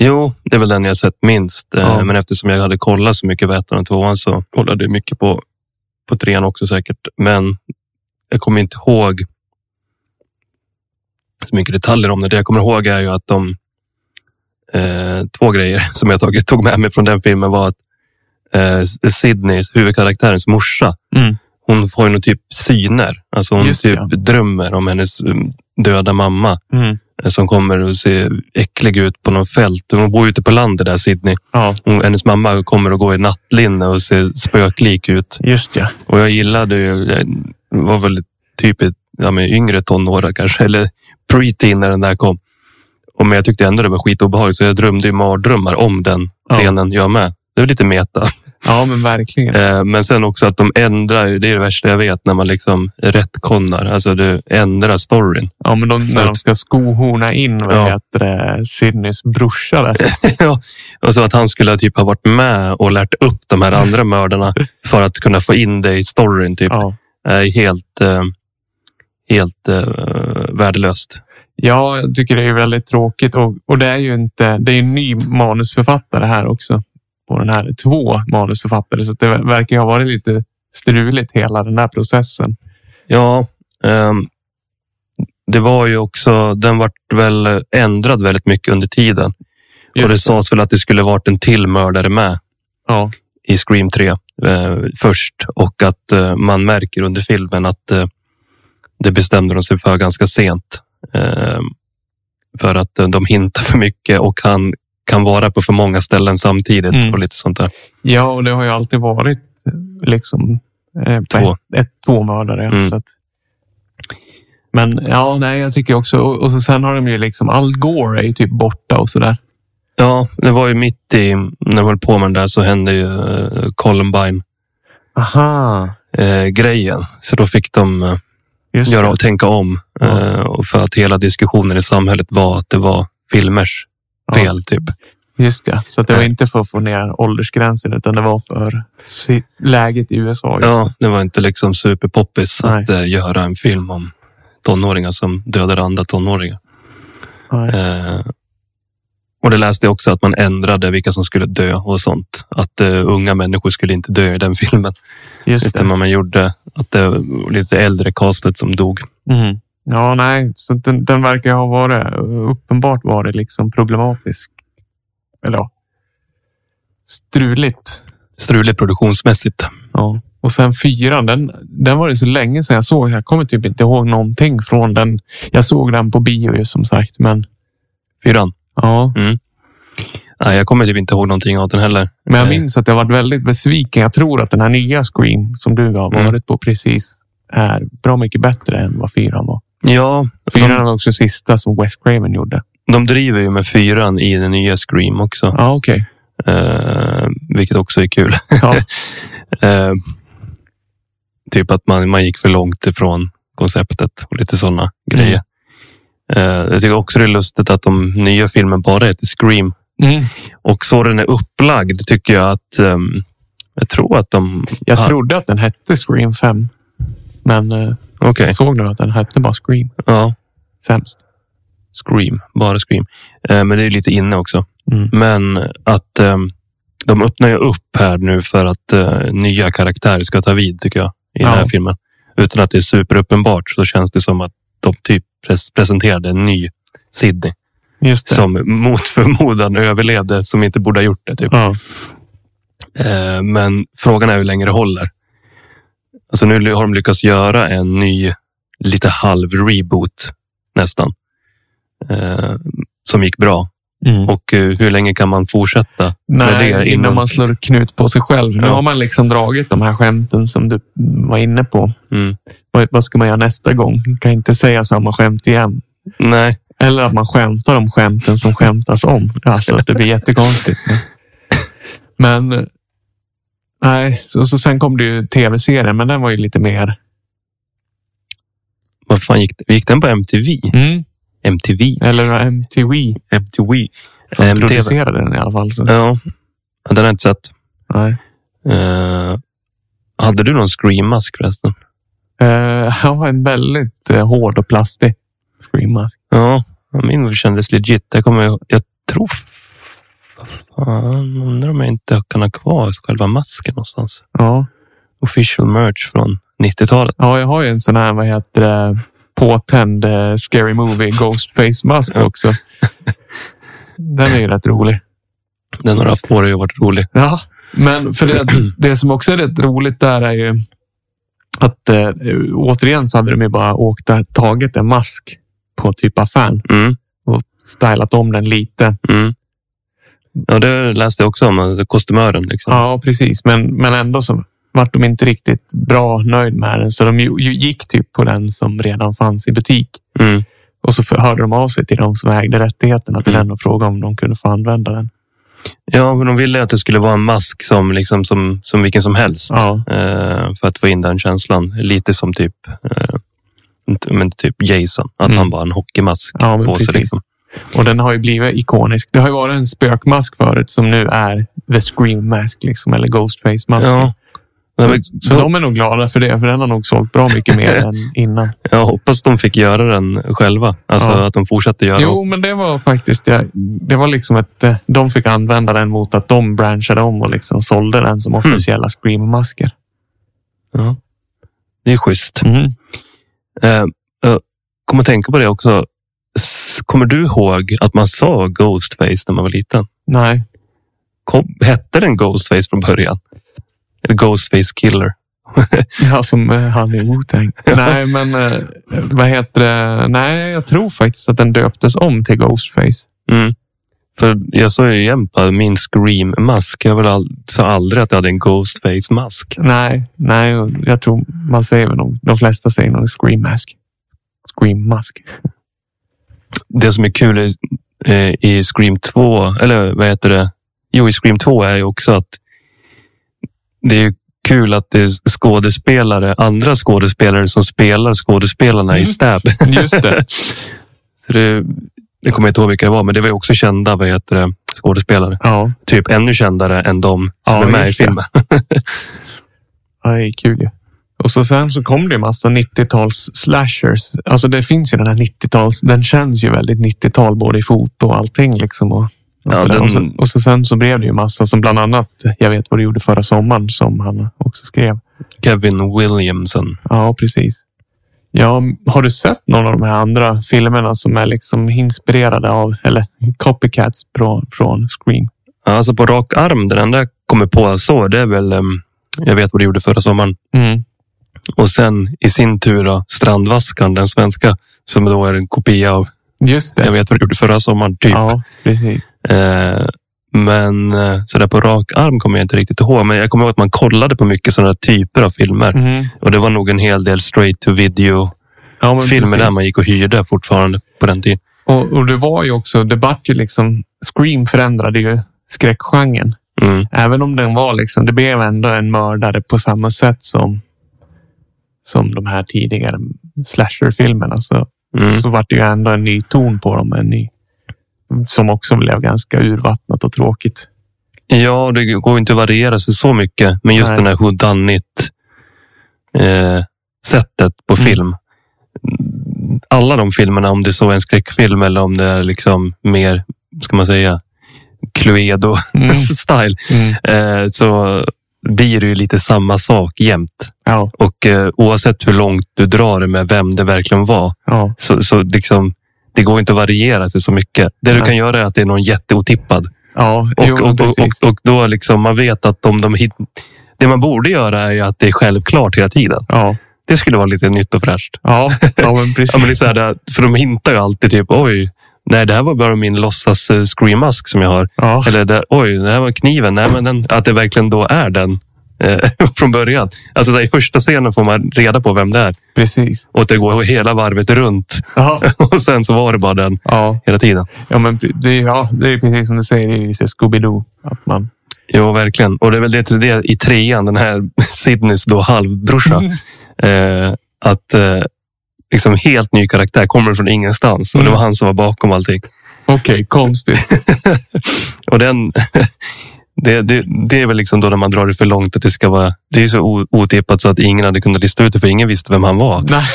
[SPEAKER 4] Jo, det är väl den jag sett minst. Eh,
[SPEAKER 3] Ja.
[SPEAKER 4] Men eftersom jag hade kollat så mycket på ettan och tvåan så kollade jag mycket på, på trean också säkert. Men jag kommer inte ihåg så mycket detaljer om det. Det jag kommer ihåg är ju att [LAUGHS] de eh, två grejer som jag tagit, tog med mig från den filmen var att eh, Sydneys, huvudkaraktärens morsa,
[SPEAKER 3] Mm.
[SPEAKER 4] hon får ju nog typ syner. Alltså hon
[SPEAKER 3] Just det,
[SPEAKER 4] typ
[SPEAKER 3] ja.
[SPEAKER 4] drömmer om hennes um, döda mamma
[SPEAKER 3] Mm.
[SPEAKER 4] eh, som kommer och ser äcklig ut på någon fält. Hon bor ute på landet där, Sydney.
[SPEAKER 3] Ja,
[SPEAKER 4] Hon, hennes mamma kommer och går i nattlinne och ser spöklik ut.
[SPEAKER 3] just ja.
[SPEAKER 4] Och jag gillade ju, jag var väl typ i ja, men yngre tonårar kanske, [LAUGHS] eller preteen när den där kom. Och men jag tyckte ändå det var skitobehagligt, så jag drömde ju mardrömmar om den
[SPEAKER 3] Ja.
[SPEAKER 4] scenen, jag med. Det var lite meta.
[SPEAKER 3] Ja, men verkligen.
[SPEAKER 4] Eh, Men sen också att de ändrar, ju- det är det värsta jag vet, när man liksom rättkonnar. Alltså du ändrar storyn.
[SPEAKER 3] Ja, men de, när de ska skohorna in vad
[SPEAKER 4] Ja.
[SPEAKER 3] heter det, Sydneys brorsa
[SPEAKER 4] [LAUGHS]
[SPEAKER 3] där.
[SPEAKER 4] ja. Och så att han skulle typ ha varit med och lärt upp de här
[SPEAKER 3] [LAUGHS]
[SPEAKER 4] andra mördarna för att kunna få in det i storyn. Typ.
[SPEAKER 3] Ja.
[SPEAKER 4] Eh, Helt, eh, helt eh, värdelöst.
[SPEAKER 3] ja, jag tycker det är väldigt tråkigt och, och det är ju inte. Det är en ny manusförfattare här också. Och den här två manusförfattare, så att det verkar ju ha varit lite struligt hela den här processen.
[SPEAKER 4] Ja, ehm, det var ju också, den vart väl ändrad väldigt mycket under tiden. och
[SPEAKER 3] Just
[SPEAKER 4] det,
[SPEAKER 3] det.
[SPEAKER 4] sades väl att det skulle varit en till mördare med
[SPEAKER 3] Ja,
[SPEAKER 4] i Scream 3 eh, först och att eh, man märker under filmen att eh, det bestämde de sig för ganska sent. Ehm, för att eh, de hintar för mycket och han kan vara på för många ställen samtidigt
[SPEAKER 3] Mm.
[SPEAKER 4] och lite sånt där.
[SPEAKER 3] ja och det har ju alltid varit eh, liksom eh, på
[SPEAKER 4] Två.
[SPEAKER 3] Ett, ett tvåmördare. ja,
[SPEAKER 4] Mm.
[SPEAKER 3] Så att, men ja, nej, jag tycker också och, och så sen har de ju liksom Al Gore är ju typ borta och så där.
[SPEAKER 4] Ja, det var ju mitt i, när jag höll på med den där så hände ju eh, Columbine
[SPEAKER 3] Aha,
[SPEAKER 4] eh, grejen. Så då fick de eh,
[SPEAKER 3] just
[SPEAKER 4] göra
[SPEAKER 3] det.
[SPEAKER 4] och tänka om.
[SPEAKER 3] Ja.
[SPEAKER 4] Eh, och för att hela diskussionen i samhället var att det var filmers
[SPEAKER 3] Ja.
[SPEAKER 4] fel. Typ.
[SPEAKER 3] Just ja, så att det var inte för att få ner åldersgränsen utan det var för si- läget i USA. just.
[SPEAKER 4] Ja, det var inte liksom superpoppis
[SPEAKER 3] Nej.
[SPEAKER 4] att eh, göra en film om tonåringar som dödar andra tonåringar.
[SPEAKER 3] Nej.
[SPEAKER 4] Eh, och det läste jag också att man ändrade vilka som skulle dö och sånt. Att eh, unga människor skulle inte dö i den [LAUGHS] filmen.
[SPEAKER 3] Just
[SPEAKER 4] Utan
[SPEAKER 3] det.
[SPEAKER 4] man gjorde att det var lite äldre castet som dog.
[SPEAKER 3] Mm. Ja, nej, så att den, den verkar ha varit eh, uppenbart varit liksom problematisk. Eller ja, struligt.
[SPEAKER 4] Struligt produktionsmässigt.
[SPEAKER 3] Ja. Och sen fyran, den, den var det så länge sedan jag såg. Jag kommer typ inte ihåg någonting från den. Jag såg den på bio ju som sagt, men
[SPEAKER 4] Fyran.
[SPEAKER 3] ja.
[SPEAKER 4] Nej, jag kommer typ inte ihåg någonting av den heller.
[SPEAKER 3] Men jag
[SPEAKER 4] Nej.
[SPEAKER 3] minns att jag varit väldigt besviken. Jag tror att den här nya Scream som du har
[SPEAKER 4] Mm.
[SPEAKER 3] varit på precis är bra mycket bättre än vad fyran var.
[SPEAKER 4] Ja, de-
[SPEAKER 3] Fyran var också sista som Wes Craven gjorde.
[SPEAKER 4] De driver ju med fyran i den nya Scream också,
[SPEAKER 3] Ja, okej.
[SPEAKER 4] eh, vilket också är kul.
[SPEAKER 3] [LAUGHS] Ja.
[SPEAKER 4] eh, typ att man, man gick för långt ifrån konceptet och lite sådana grejer. Eh, jag tycker också det är lustigt att de nya filmen bara heter Scream
[SPEAKER 3] Mm.
[SPEAKER 4] och så den är upplagd tycker jag att ehm, jag tror att de...
[SPEAKER 3] Jag
[SPEAKER 4] Ah,
[SPEAKER 3] trodde att den hette Scream 5. Men eh,
[SPEAKER 4] Okej,
[SPEAKER 3] jag såg nu att den hette bara Scream.
[SPEAKER 4] ja.
[SPEAKER 3] Sämst.
[SPEAKER 4] Scream, bara Scream. Eh, men det är lite inne också.
[SPEAKER 3] Mm.
[SPEAKER 4] Men att ehm, de öppnar ju upp här nu för att eh, nya karaktärer ska ta vid tycker jag i den här
[SPEAKER 3] Ja.
[SPEAKER 4] filmen. Utan att det är superuppenbart så känns det som att de typ pres- presenterade en ny Sydney
[SPEAKER 3] Just det.
[SPEAKER 4] som mot [LAUGHS] förmodan överlevde som inte borde ha gjort det. Typ.
[SPEAKER 3] Ja.
[SPEAKER 4] Eh, men frågan är hur länge det håller. Alltså nu har de lyckats göra en ny, lite halv reboot nästan. Eh, som gick bra.
[SPEAKER 3] Mm.
[SPEAKER 4] Och eh, hur länge kan man fortsätta med
[SPEAKER 3] Nej,
[SPEAKER 4] det?
[SPEAKER 3] innan, man slår knut på sig själv. Nu
[SPEAKER 4] Ja.
[SPEAKER 3] har man liksom dragit de här skämten som du var inne på.
[SPEAKER 4] Mm.
[SPEAKER 3] Vad, vad ska man göra nästa gång? Kan inte säga samma skämt igen.
[SPEAKER 4] Nej,
[SPEAKER 3] Eller att man skämtar om skämten som skämtas om. Alltså att det blir jättekonstigt. Men, men nej, så, så sen kom det ju tv-serien, men den var ju lite mer.
[SPEAKER 4] vad fan gick, det- gick den på MTV?
[SPEAKER 3] Mm.
[SPEAKER 4] MTV?
[SPEAKER 3] Eller MTV
[SPEAKER 4] MTV?
[SPEAKER 3] som
[SPEAKER 4] MTV.
[SPEAKER 3] producerade den i alla fall. Så,
[SPEAKER 4] Ja, Ja, den har jag inte sett.
[SPEAKER 3] nej.
[SPEAKER 4] Eh, hade du någon screammask förresten?
[SPEAKER 3] Eh, [LAUGHS] han var en väldigt eh, hård och plastig screenmask.
[SPEAKER 4] Ja, min kändes legit. Jag, kommer, ihåg- jag tror... vad Fan, undrar om jag inte kan ha kvar själva masken någonstans.
[SPEAKER 3] Ja.
[SPEAKER 4] Official merch från 90-talet.
[SPEAKER 3] Ja, jag har ju en sån här, vad heter det, påtänd eh, Scary Movie Ghostface-mask också. Den är ju rätt rolig.
[SPEAKER 4] Den har du haft på dig och varit rolig.
[SPEAKER 3] Ja, Men för det, det som också är rätt roligt där är ju att eh, återigen så hade de ju bara åkt och tagit en mask på typ affären
[SPEAKER 4] Mm,
[SPEAKER 3] och stylat om den lite.
[SPEAKER 4] mm. Ja, det läste jag också om. alltså Kostymören. Liksom.
[SPEAKER 3] Ja, precis. Men, men ändå så vart de inte riktigt bra nöjd med den. Så de ju, ju gick typ på den som redan fanns i butik.
[SPEAKER 4] Mm.
[SPEAKER 3] Och så för- hörde de av sig till de som ägde rättigheterna till
[SPEAKER 4] Mm.
[SPEAKER 3] den och frågade om de kunde få använda den.
[SPEAKER 4] Ja, för de ville att det skulle vara en mask som, liksom, som, som vilken som helst.
[SPEAKER 3] Ja,
[SPEAKER 4] Eh, för att få in den känslan. Lite som typ, eh, inte- men typ Jason. Att
[SPEAKER 3] Mm.
[SPEAKER 4] han bara har en hockeymask
[SPEAKER 3] ja men
[SPEAKER 4] på sig.
[SPEAKER 3] precis.
[SPEAKER 4] Liksom.
[SPEAKER 3] Och den har ju blivit ikonisk. Det har ju varit en spökmask förut som nu är The Scream Mask liksom, eller Ghostface Mask.
[SPEAKER 4] Ja.
[SPEAKER 3] Så,
[SPEAKER 4] Nej, men,
[SPEAKER 3] så de är nog glada för det, för den har nog sålt bra mycket
[SPEAKER 4] [LAUGHS]
[SPEAKER 3] mer än innan.
[SPEAKER 4] Jag hoppas de fick göra den själva. Alltså
[SPEAKER 3] Ja.
[SPEAKER 4] att de fortsatte göra
[SPEAKER 3] Jo, men det var faktiskt det. Det var liksom att eh, de fick använda den mot att de branschade om och liksom sålde den
[SPEAKER 4] Hmm.
[SPEAKER 3] som officiella Scream-masker.
[SPEAKER 4] Ja. Det är schysst.
[SPEAKER 3] Mm.
[SPEAKER 4] Eh, jag kommer att tänka på det också. S- Kommer du ihåg att man sa Ghostface när man var liten?
[SPEAKER 3] Nej, [LAUGHS]
[SPEAKER 4] Kom, hette den Ghostface från början? Eller Ghostface Killer?
[SPEAKER 3] ja, som eh, han i Wu-Tang. Nej, men eh, vad heter det? Nej, jag tror faktiskt att den döptes om till Ghostface.
[SPEAKER 4] Mm. För jag såg ju jämt på min Scream-mask. Jag väl all, sa aldrig att jag hade en Ghostface-mask.
[SPEAKER 3] Nej, nej, jag tror man säger väl nog, de flesta säger nog Scream Mask. Scream Mask.
[SPEAKER 4] Det som är kul i, eh, i Scream 2, eller vad heter det? Jo, i Scream 2 är ju också att det är ju kul att det är skådespelare, andra skådespelare som spelar skådespelarna i
[SPEAKER 3] Mm.
[SPEAKER 4] Stab.
[SPEAKER 3] [LAUGHS] Just det.
[SPEAKER 4] Så det, jag kommer inte ihåg vilka det var, men det var ju också kända vad heter det, skådespelare.
[SPEAKER 3] Ja,
[SPEAKER 4] Typ ännu kändare än de som
[SPEAKER 3] Ja,
[SPEAKER 4] är med i
[SPEAKER 3] just det.
[SPEAKER 4] filmen. [LAUGHS]
[SPEAKER 3] Ja, det är kul ju. Och så sen så kom det en massa 90-tals slashers. Alltså det finns ju den här 90-tals. Den känns ju väldigt 90-tal både i foto och allting liksom. Och, och,
[SPEAKER 4] Ja,
[SPEAKER 3] sådär.
[SPEAKER 4] den-
[SPEAKER 3] och, så, och så sen så blev det ju massa som bland annat Jag vet vad du gjorde förra sommaren som han också skrev.
[SPEAKER 4] Kevin Williamson.
[SPEAKER 3] Ja, precis. Ja, har du sett någon av de här andra filmerna som är liksom inspirerade av eller [LAUGHS] copycats från, från Scream?
[SPEAKER 4] Ja, Alltså på rak arm, den enda jag kommer på så, det är väl ehm, Jag vet vad du gjorde förra sommaren.
[SPEAKER 3] Mm.
[SPEAKER 4] Och sen i sin tur då, Strandvaskan, den svenska, som då är en kopia av
[SPEAKER 3] Just det.
[SPEAKER 4] Jag vet vad du gjorde förra sommaren, typ.
[SPEAKER 3] Ja, precis.
[SPEAKER 4] Eh, men eh, så där på rak arm kommer jag inte riktigt ihåg. Men jag kommer ihåg att man kollade på mycket sådana typer av filmer.
[SPEAKER 3] Mm.
[SPEAKER 4] Och det var nog en hel del straight to video
[SPEAKER 3] Ja, men
[SPEAKER 4] filmer
[SPEAKER 3] precis.
[SPEAKER 4] där man gick och hyrde fortfarande på den tiden.
[SPEAKER 3] Och, och det var ju också, det vart ju liksom, Scream förändrade ju skräckgenren.
[SPEAKER 4] Mm.
[SPEAKER 3] Även om den var liksom, det blev ändå en mördare på samma sätt som, som de här tidigare slasherfilmerna. Så,
[SPEAKER 4] Mm.
[SPEAKER 3] så vart det ju ändå en ny ton på dem. En ny, som också blev ganska urvattnat och tråkigt.
[SPEAKER 4] Ja, det går ju inte att variera sig så mycket. Men just
[SPEAKER 3] Nej.
[SPEAKER 4] den här hudannit eh, sättet på
[SPEAKER 3] Mm.
[SPEAKER 4] film. Alla de filmerna, om det så är en skräckfilm eller om det är liksom mer, ska man säga, [LAUGHS] Mm.
[SPEAKER 3] Mm.
[SPEAKER 4] Cluedo-style. eh, så blir det ju lite samma sak jämt.
[SPEAKER 3] Ja,
[SPEAKER 4] Och eh, oavsett hur långt du drar det med vem det verkligen var,
[SPEAKER 3] ja,
[SPEAKER 4] så, så liksom, det går inte att variera sig så mycket. Det du
[SPEAKER 3] Nej.
[SPEAKER 4] kan göra är att det är någon jätteotippad.
[SPEAKER 3] ja.
[SPEAKER 4] Och,
[SPEAKER 3] jo,
[SPEAKER 4] och, och,
[SPEAKER 3] precis.
[SPEAKER 4] och, och då liksom man vet att om de hit, det man borde göra är ju att det är självklart hela tiden.
[SPEAKER 3] Ja,
[SPEAKER 4] Det skulle vara lite nytt och fräscht.
[SPEAKER 3] ja, ja, men precis.
[SPEAKER 4] [LAUGHS] Ja, men det är så här, det här- för de hintar ju alltid typ, oj, nej, det här var bara min låtsas eh, screammask som jag har.
[SPEAKER 3] ja.
[SPEAKER 4] Eller där, oj, det här var kniven. Nej, men den, att det verkligen då är den eh, [LAUGHS] från början. Alltså så här, i första scenen får man reda på vem det är
[SPEAKER 3] Precis.
[SPEAKER 4] och att det går hela varvet runt. [LAUGHS]
[SPEAKER 3] Ja,
[SPEAKER 4] Och sen så var det bara den
[SPEAKER 3] ja,
[SPEAKER 4] hela tiden.
[SPEAKER 3] ja, men pre- det, är- ja, det är precis som du säger i Scooby-Doo. Att man
[SPEAKER 4] Jo, verkligen. Och det är väl det, det i trean, den här [LAUGHS] Sidneys då halvbrorsa.
[SPEAKER 3] Mm.
[SPEAKER 4] eh, att eh, liksom helt ny karaktär, kommer från ingenstans. Och det
[SPEAKER 3] Mm.
[SPEAKER 4] var han som var bakom allting. [LAUGHS]
[SPEAKER 3] Okej, konstigt.
[SPEAKER 4] Och den, [LAUGHS] det, det, det är väl liksom då när man drar det för långt att det ska vara. Det är ju så o- otippat så att ingen hade kunnat lista ut det för ingen visste vem han var.
[SPEAKER 3] [LAUGHS] Nej,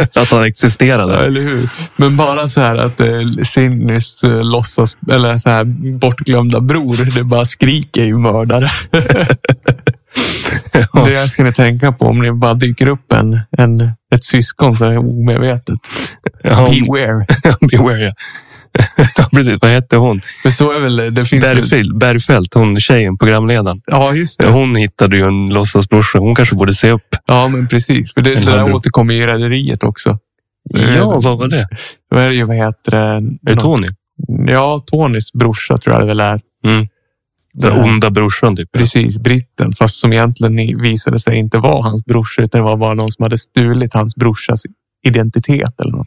[SPEAKER 4] [LAUGHS] Att han existerade.
[SPEAKER 3] eller hur? Men bara så här att eh, Sinnys eh, låtsas, eller så här bortglömda bror, det bara skriker ju mördare. [LAUGHS] Det ska ni tänka på om ni bara dyker upp en, en ett syskon så är det omedvetet.
[SPEAKER 4] Ja,
[SPEAKER 3] Beware.
[SPEAKER 4] [LAUGHS] Beware. ja. Ja, Precis, vad hette hon?
[SPEAKER 3] För så är väl, eh, det finns ju,
[SPEAKER 4] Bergfeldt, Bergfeldt, hon tjejen, programledaren.
[SPEAKER 3] Ja, just det.
[SPEAKER 4] Hon hittade ju en låtsasbrorsa. Hon kanske borde se upp.
[SPEAKER 3] Ja, men precis. För det, det
[SPEAKER 4] Eller
[SPEAKER 3] där
[SPEAKER 4] hade du-
[SPEAKER 3] återkommer ju i Rederiet också.
[SPEAKER 4] Ja, vad var det?
[SPEAKER 3] Då är det ju, vad heter det?
[SPEAKER 4] Är det Tony?
[SPEAKER 3] Ja, Tonys brorsa tror jag det väl är.
[SPEAKER 4] Mm. Den onda brorsan typ.
[SPEAKER 3] Precis, britten. Fast som egentligen i- visade sig inte vara hans brorsa, utan det var bara någon som hade stulit hans brorsas identitet eller något.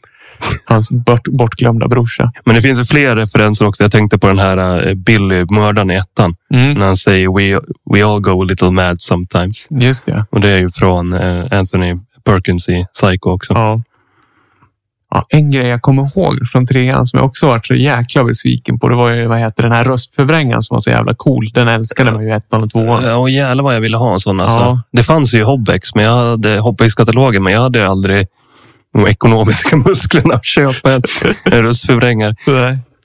[SPEAKER 3] Hans bort, bortglömda brorsa.
[SPEAKER 4] Men det finns ju fler referenser också. Jag tänkte på den här eh, Billy, mördaren i ettan.
[SPEAKER 3] Mm.
[SPEAKER 4] När han säger we, we all go a little mad sometimes.
[SPEAKER 3] Just det.
[SPEAKER 4] Och det är ju från eh, Anthony Perkins i Psycho också.
[SPEAKER 3] Ja. Ja, en grej jag kommer ihåg från trean som jag också varit så jäkla besviken på. Det var ju vad heter den här röstförbrängaren som var så jävla cool. Den älskade man ju i ettan och tvåan.
[SPEAKER 4] Ja, Eh, och jävlar vad jag ville ha en sån. Alltså.
[SPEAKER 3] Ja.
[SPEAKER 4] Det fanns ju i Hobbex, men jag hade Hobbex-katalogen, men jag hade aldrig de ekonomiska [LAUGHS] musklerna att
[SPEAKER 3] [LAUGHS]
[SPEAKER 4] köpa en, en röstförvrängare.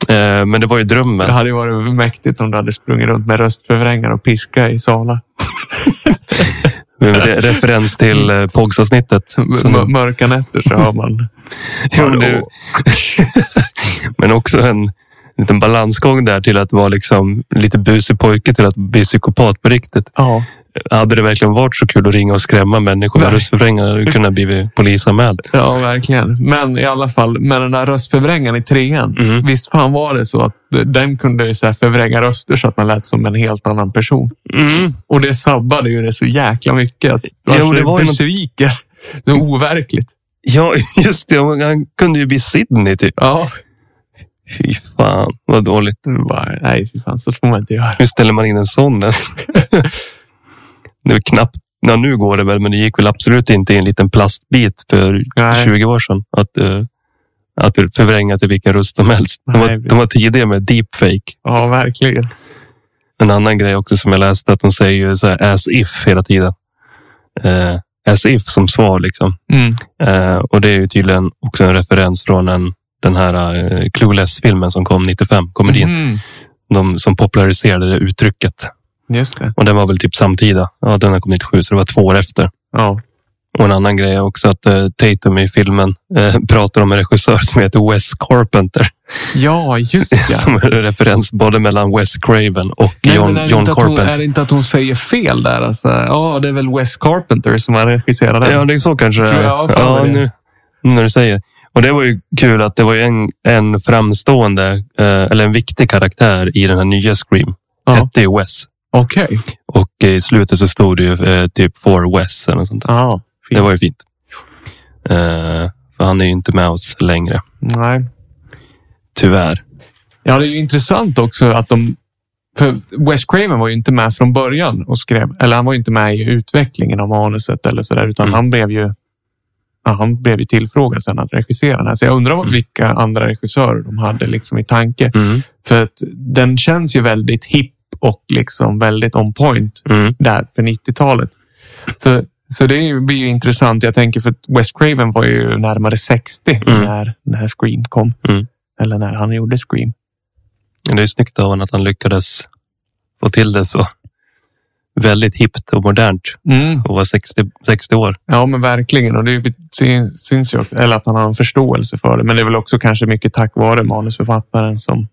[SPEAKER 4] Eh, men det var ju drömmen.
[SPEAKER 3] Det hade ju varit mäktigt om du hade sprungit runt med röstförvrängare och piska i Sala.
[SPEAKER 4] Men det är Referens till eh, POGS-avsnittet. Så
[SPEAKER 3] M- mörka nätter så hör man.
[SPEAKER 4] Ja, men, det, [LAUGHS] men också en liten balansgång där till att vara liksom lite busig pojke till att bli psykopat på riktigt.
[SPEAKER 3] Ja,
[SPEAKER 4] Hade det verkligen varit så kul att ringa och skrämma människor med
[SPEAKER 3] Nej.
[SPEAKER 4] röstförvrängare hade du kunnat bli polisanmäld.
[SPEAKER 3] ja, verkligen. Men i alla fall, med den där röstförvrängaren i trean.
[SPEAKER 4] Mm.
[SPEAKER 3] Visst fan var det så att den kunde ju så här förvränga röster så att man lät som en helt annan person.
[SPEAKER 4] Mm.
[SPEAKER 3] Och det sabbade ju det så jäkla mycket. Att,
[SPEAKER 4] Jo, det
[SPEAKER 3] det
[SPEAKER 4] var
[SPEAKER 3] var
[SPEAKER 4] ju
[SPEAKER 3] besviken. [LAUGHS] Det är overkligt.
[SPEAKER 4] Ja, [LAUGHS] just det. Han kunde ju bli Sydney typ.
[SPEAKER 3] Ja.
[SPEAKER 4] Fy fan, vad dåligt.
[SPEAKER 3] Det var Bara, nej, fy fan, så får man inte göra.
[SPEAKER 4] Hur ställer man in en sån ens? nu är knappt. Ja, nu går det väl, men det gick väl absolut inte i en liten plastbit för
[SPEAKER 3] Nej.
[SPEAKER 4] 20 år sedan. Att, eh, att förvränga till vilken röst som helst. De var,
[SPEAKER 3] Nej,
[SPEAKER 4] de var tidiga med deepfake.
[SPEAKER 3] Ja, verkligen.
[SPEAKER 4] En annan grej också som jag läste, att de säger ju så här as if hela tiden. Eh, as if som svar liksom.
[SPEAKER 3] Mm.
[SPEAKER 4] Eh, och det är ju tydligen också en referens från en, den här eh, Clueless-filmen som kom 95, komedin.
[SPEAKER 3] Mm.
[SPEAKER 4] De som populariserade det uttrycket.
[SPEAKER 3] Just det.
[SPEAKER 4] Och den var väl typ samtida. Ja, den här kom 97, så det var två år efter.
[SPEAKER 3] Ja.
[SPEAKER 4] Och en annan grej är också att eh, Tatum i filmen eh, [LAUGHS] pratar om en regissör som heter Wes Carpenter.
[SPEAKER 3] ja,
[SPEAKER 4] [LAUGHS]
[SPEAKER 3] just det.
[SPEAKER 4] Som är en referens både mellan Wes Craven och
[SPEAKER 3] Nej,
[SPEAKER 4] John,
[SPEAKER 3] men är det
[SPEAKER 4] John
[SPEAKER 3] inte att hon- Är
[SPEAKER 4] Carpenter.
[SPEAKER 3] det inte att hon säger fel där? Alltså, ja, det är väl Wes Carpenter som har regisserat den.
[SPEAKER 4] Ja, det är så kanske
[SPEAKER 3] Tror jag, ja, fan
[SPEAKER 4] Ja,
[SPEAKER 3] vad det är.
[SPEAKER 4] nu, nu när du säger. Och det var ju kul att det var ju en, en framstående, eh, eller en viktig karaktär i den här nya Scream.
[SPEAKER 3] Ja.
[SPEAKER 4] Hette ju Wes.
[SPEAKER 3] Okej.
[SPEAKER 4] Och eh, i slutet så stod det ju eh, typ For Wes eller något sånt där.
[SPEAKER 3] Ja.
[SPEAKER 4] Det var ju fint. Eh, för han är ju inte med oss längre.
[SPEAKER 3] Nej.
[SPEAKER 4] Tyvärr.
[SPEAKER 3] Ja, det är ju intressant också att de... För Wes Craven var ju inte med från början och skrev... Eller han var ju inte med i utvecklingen av manuset eller sådär, utan
[SPEAKER 4] Mm.
[SPEAKER 3] han blev ju... Ja, han blev ju tillfrågad sen att regissera den här. Så jag undrar
[SPEAKER 4] Mm.
[SPEAKER 3] vad- vilka andra regissörer de hade liksom i tanke. För att den känns ju väldigt hipp och liksom väldigt on point
[SPEAKER 4] Mm.
[SPEAKER 3] där för 90-talet. Så, så det är ju- blir ju intressant. Jag tänker för att Wes Craven var ju närmare 60
[SPEAKER 4] Mm.
[SPEAKER 3] när, när Scream kom.
[SPEAKER 4] Mm.
[SPEAKER 3] Eller när han gjorde Scream.
[SPEAKER 4] Det är snyggt av honom att han lyckades få till det så väldigt hippt och modernt och var 60, 60 år.
[SPEAKER 3] Mm. Ja, men verkligen. Och det är ju- sy- syns ju också, eller att han har en förståelse för det. Men det är väl också kanske mycket tack vare manusförfattaren som,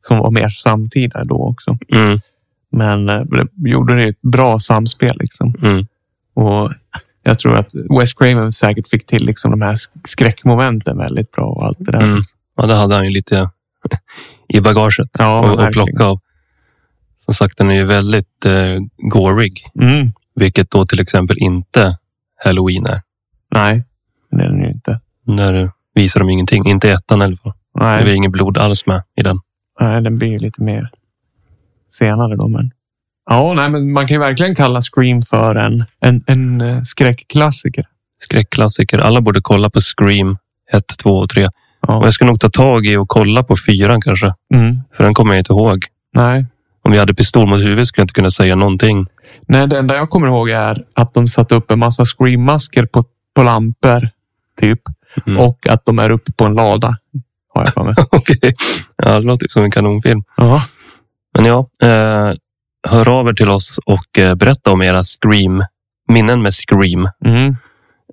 [SPEAKER 3] som var mer samtida då också. Men eh, det gjorde det ju ett bra samspel liksom.
[SPEAKER 4] Mm.
[SPEAKER 3] Och jag tror att Wes Craven säkert fick till liksom de här sk- skräckmomenten väldigt bra och allt det där.
[SPEAKER 4] Mm. Ja, det hade han ju lite i bagaget
[SPEAKER 3] Ja, men
[SPEAKER 4] och, och
[SPEAKER 3] verkligen.
[SPEAKER 4] plocka av. Som sagt, den är ju väldigt eh, gorig,
[SPEAKER 3] Mm.
[SPEAKER 4] vilket då till exempel inte Halloween är.
[SPEAKER 3] Nej, det är den ju inte.
[SPEAKER 4] Där visar de ingenting. Inte i ettan i alla fall. Det
[SPEAKER 3] Nej,
[SPEAKER 4] är inget blod alls med i den.
[SPEAKER 3] nej, den blir ju lite mer senare då. Men... Ja, nej, men man kan ju verkligen kalla Scream för en, en, en eh, skräckklassiker.
[SPEAKER 4] Skräckklassiker. Alla borde kolla på Scream 1, 2 och 3. Och
[SPEAKER 3] Ja.
[SPEAKER 4] jag ska nog ta tag i och kolla på fyran kanske.
[SPEAKER 3] Mm.
[SPEAKER 4] För den kommer jag inte ihåg.
[SPEAKER 3] Nej.
[SPEAKER 4] Om jag hade pistol mot huvudet skulle jag inte kunna säga någonting. [LAUGHS]
[SPEAKER 3] nej, det enda jag kommer ihåg är att de satte upp en massa Scream-masker på, på lampor. Typ.
[SPEAKER 4] Mm.
[SPEAKER 3] Och att de är uppe på en lada. Har jag för
[SPEAKER 4] [LAUGHS]
[SPEAKER 3] mig.
[SPEAKER 4] Okej. Ja, det låter som en kanonfilm.
[SPEAKER 3] ja.
[SPEAKER 4] Men ja, eh, hör av er till oss och eh, berätta om era Scream. Minnen med Scream.
[SPEAKER 3] Mm.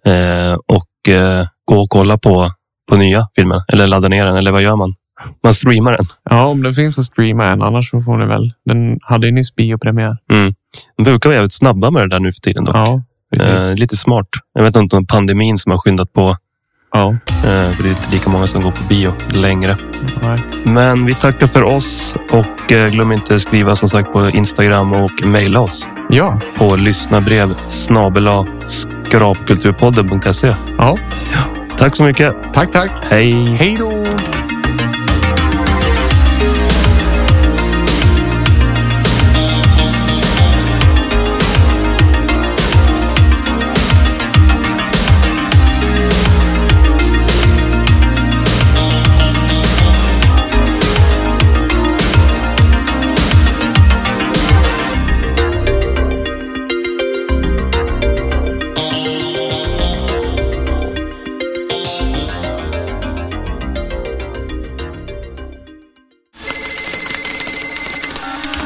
[SPEAKER 4] Eh, och eh, gå och kolla på, på nya filmer. Eller ladda ner den. Eller vad gör man? Man streamar den.
[SPEAKER 3] Ja, om den finns att streama än. Annars så får ni väl. Den hade ju nyss biopremiär.
[SPEAKER 4] De brukar vara jävligt snabba med det där nu för tiden. Dock.
[SPEAKER 3] Ja, precis.
[SPEAKER 4] eh, lite smart. Jag vet inte om pandemin som har skyndat på.
[SPEAKER 3] Ja,
[SPEAKER 4] Eh, för det är inte lika många som går på bio längre.
[SPEAKER 3] nej.
[SPEAKER 4] Men vi tackar för oss och eh, glöm inte skriva som sagt på Instagram och mejla oss
[SPEAKER 3] ja,
[SPEAKER 4] på lyssnarbrev snabela skrapkulturpodden.se.
[SPEAKER 3] ja.
[SPEAKER 4] Tack så mycket.
[SPEAKER 3] Tack, tack.
[SPEAKER 4] Hej!
[SPEAKER 3] Hej då!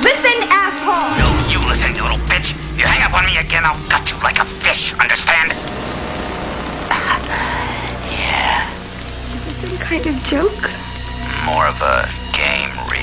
[SPEAKER 2] Listen, asshole!
[SPEAKER 1] No, you listen, you little bitch. You hang up on me again, I'll cut you like a fish, understand?
[SPEAKER 2] Some kind of joke?
[SPEAKER 1] More of a game, Rita.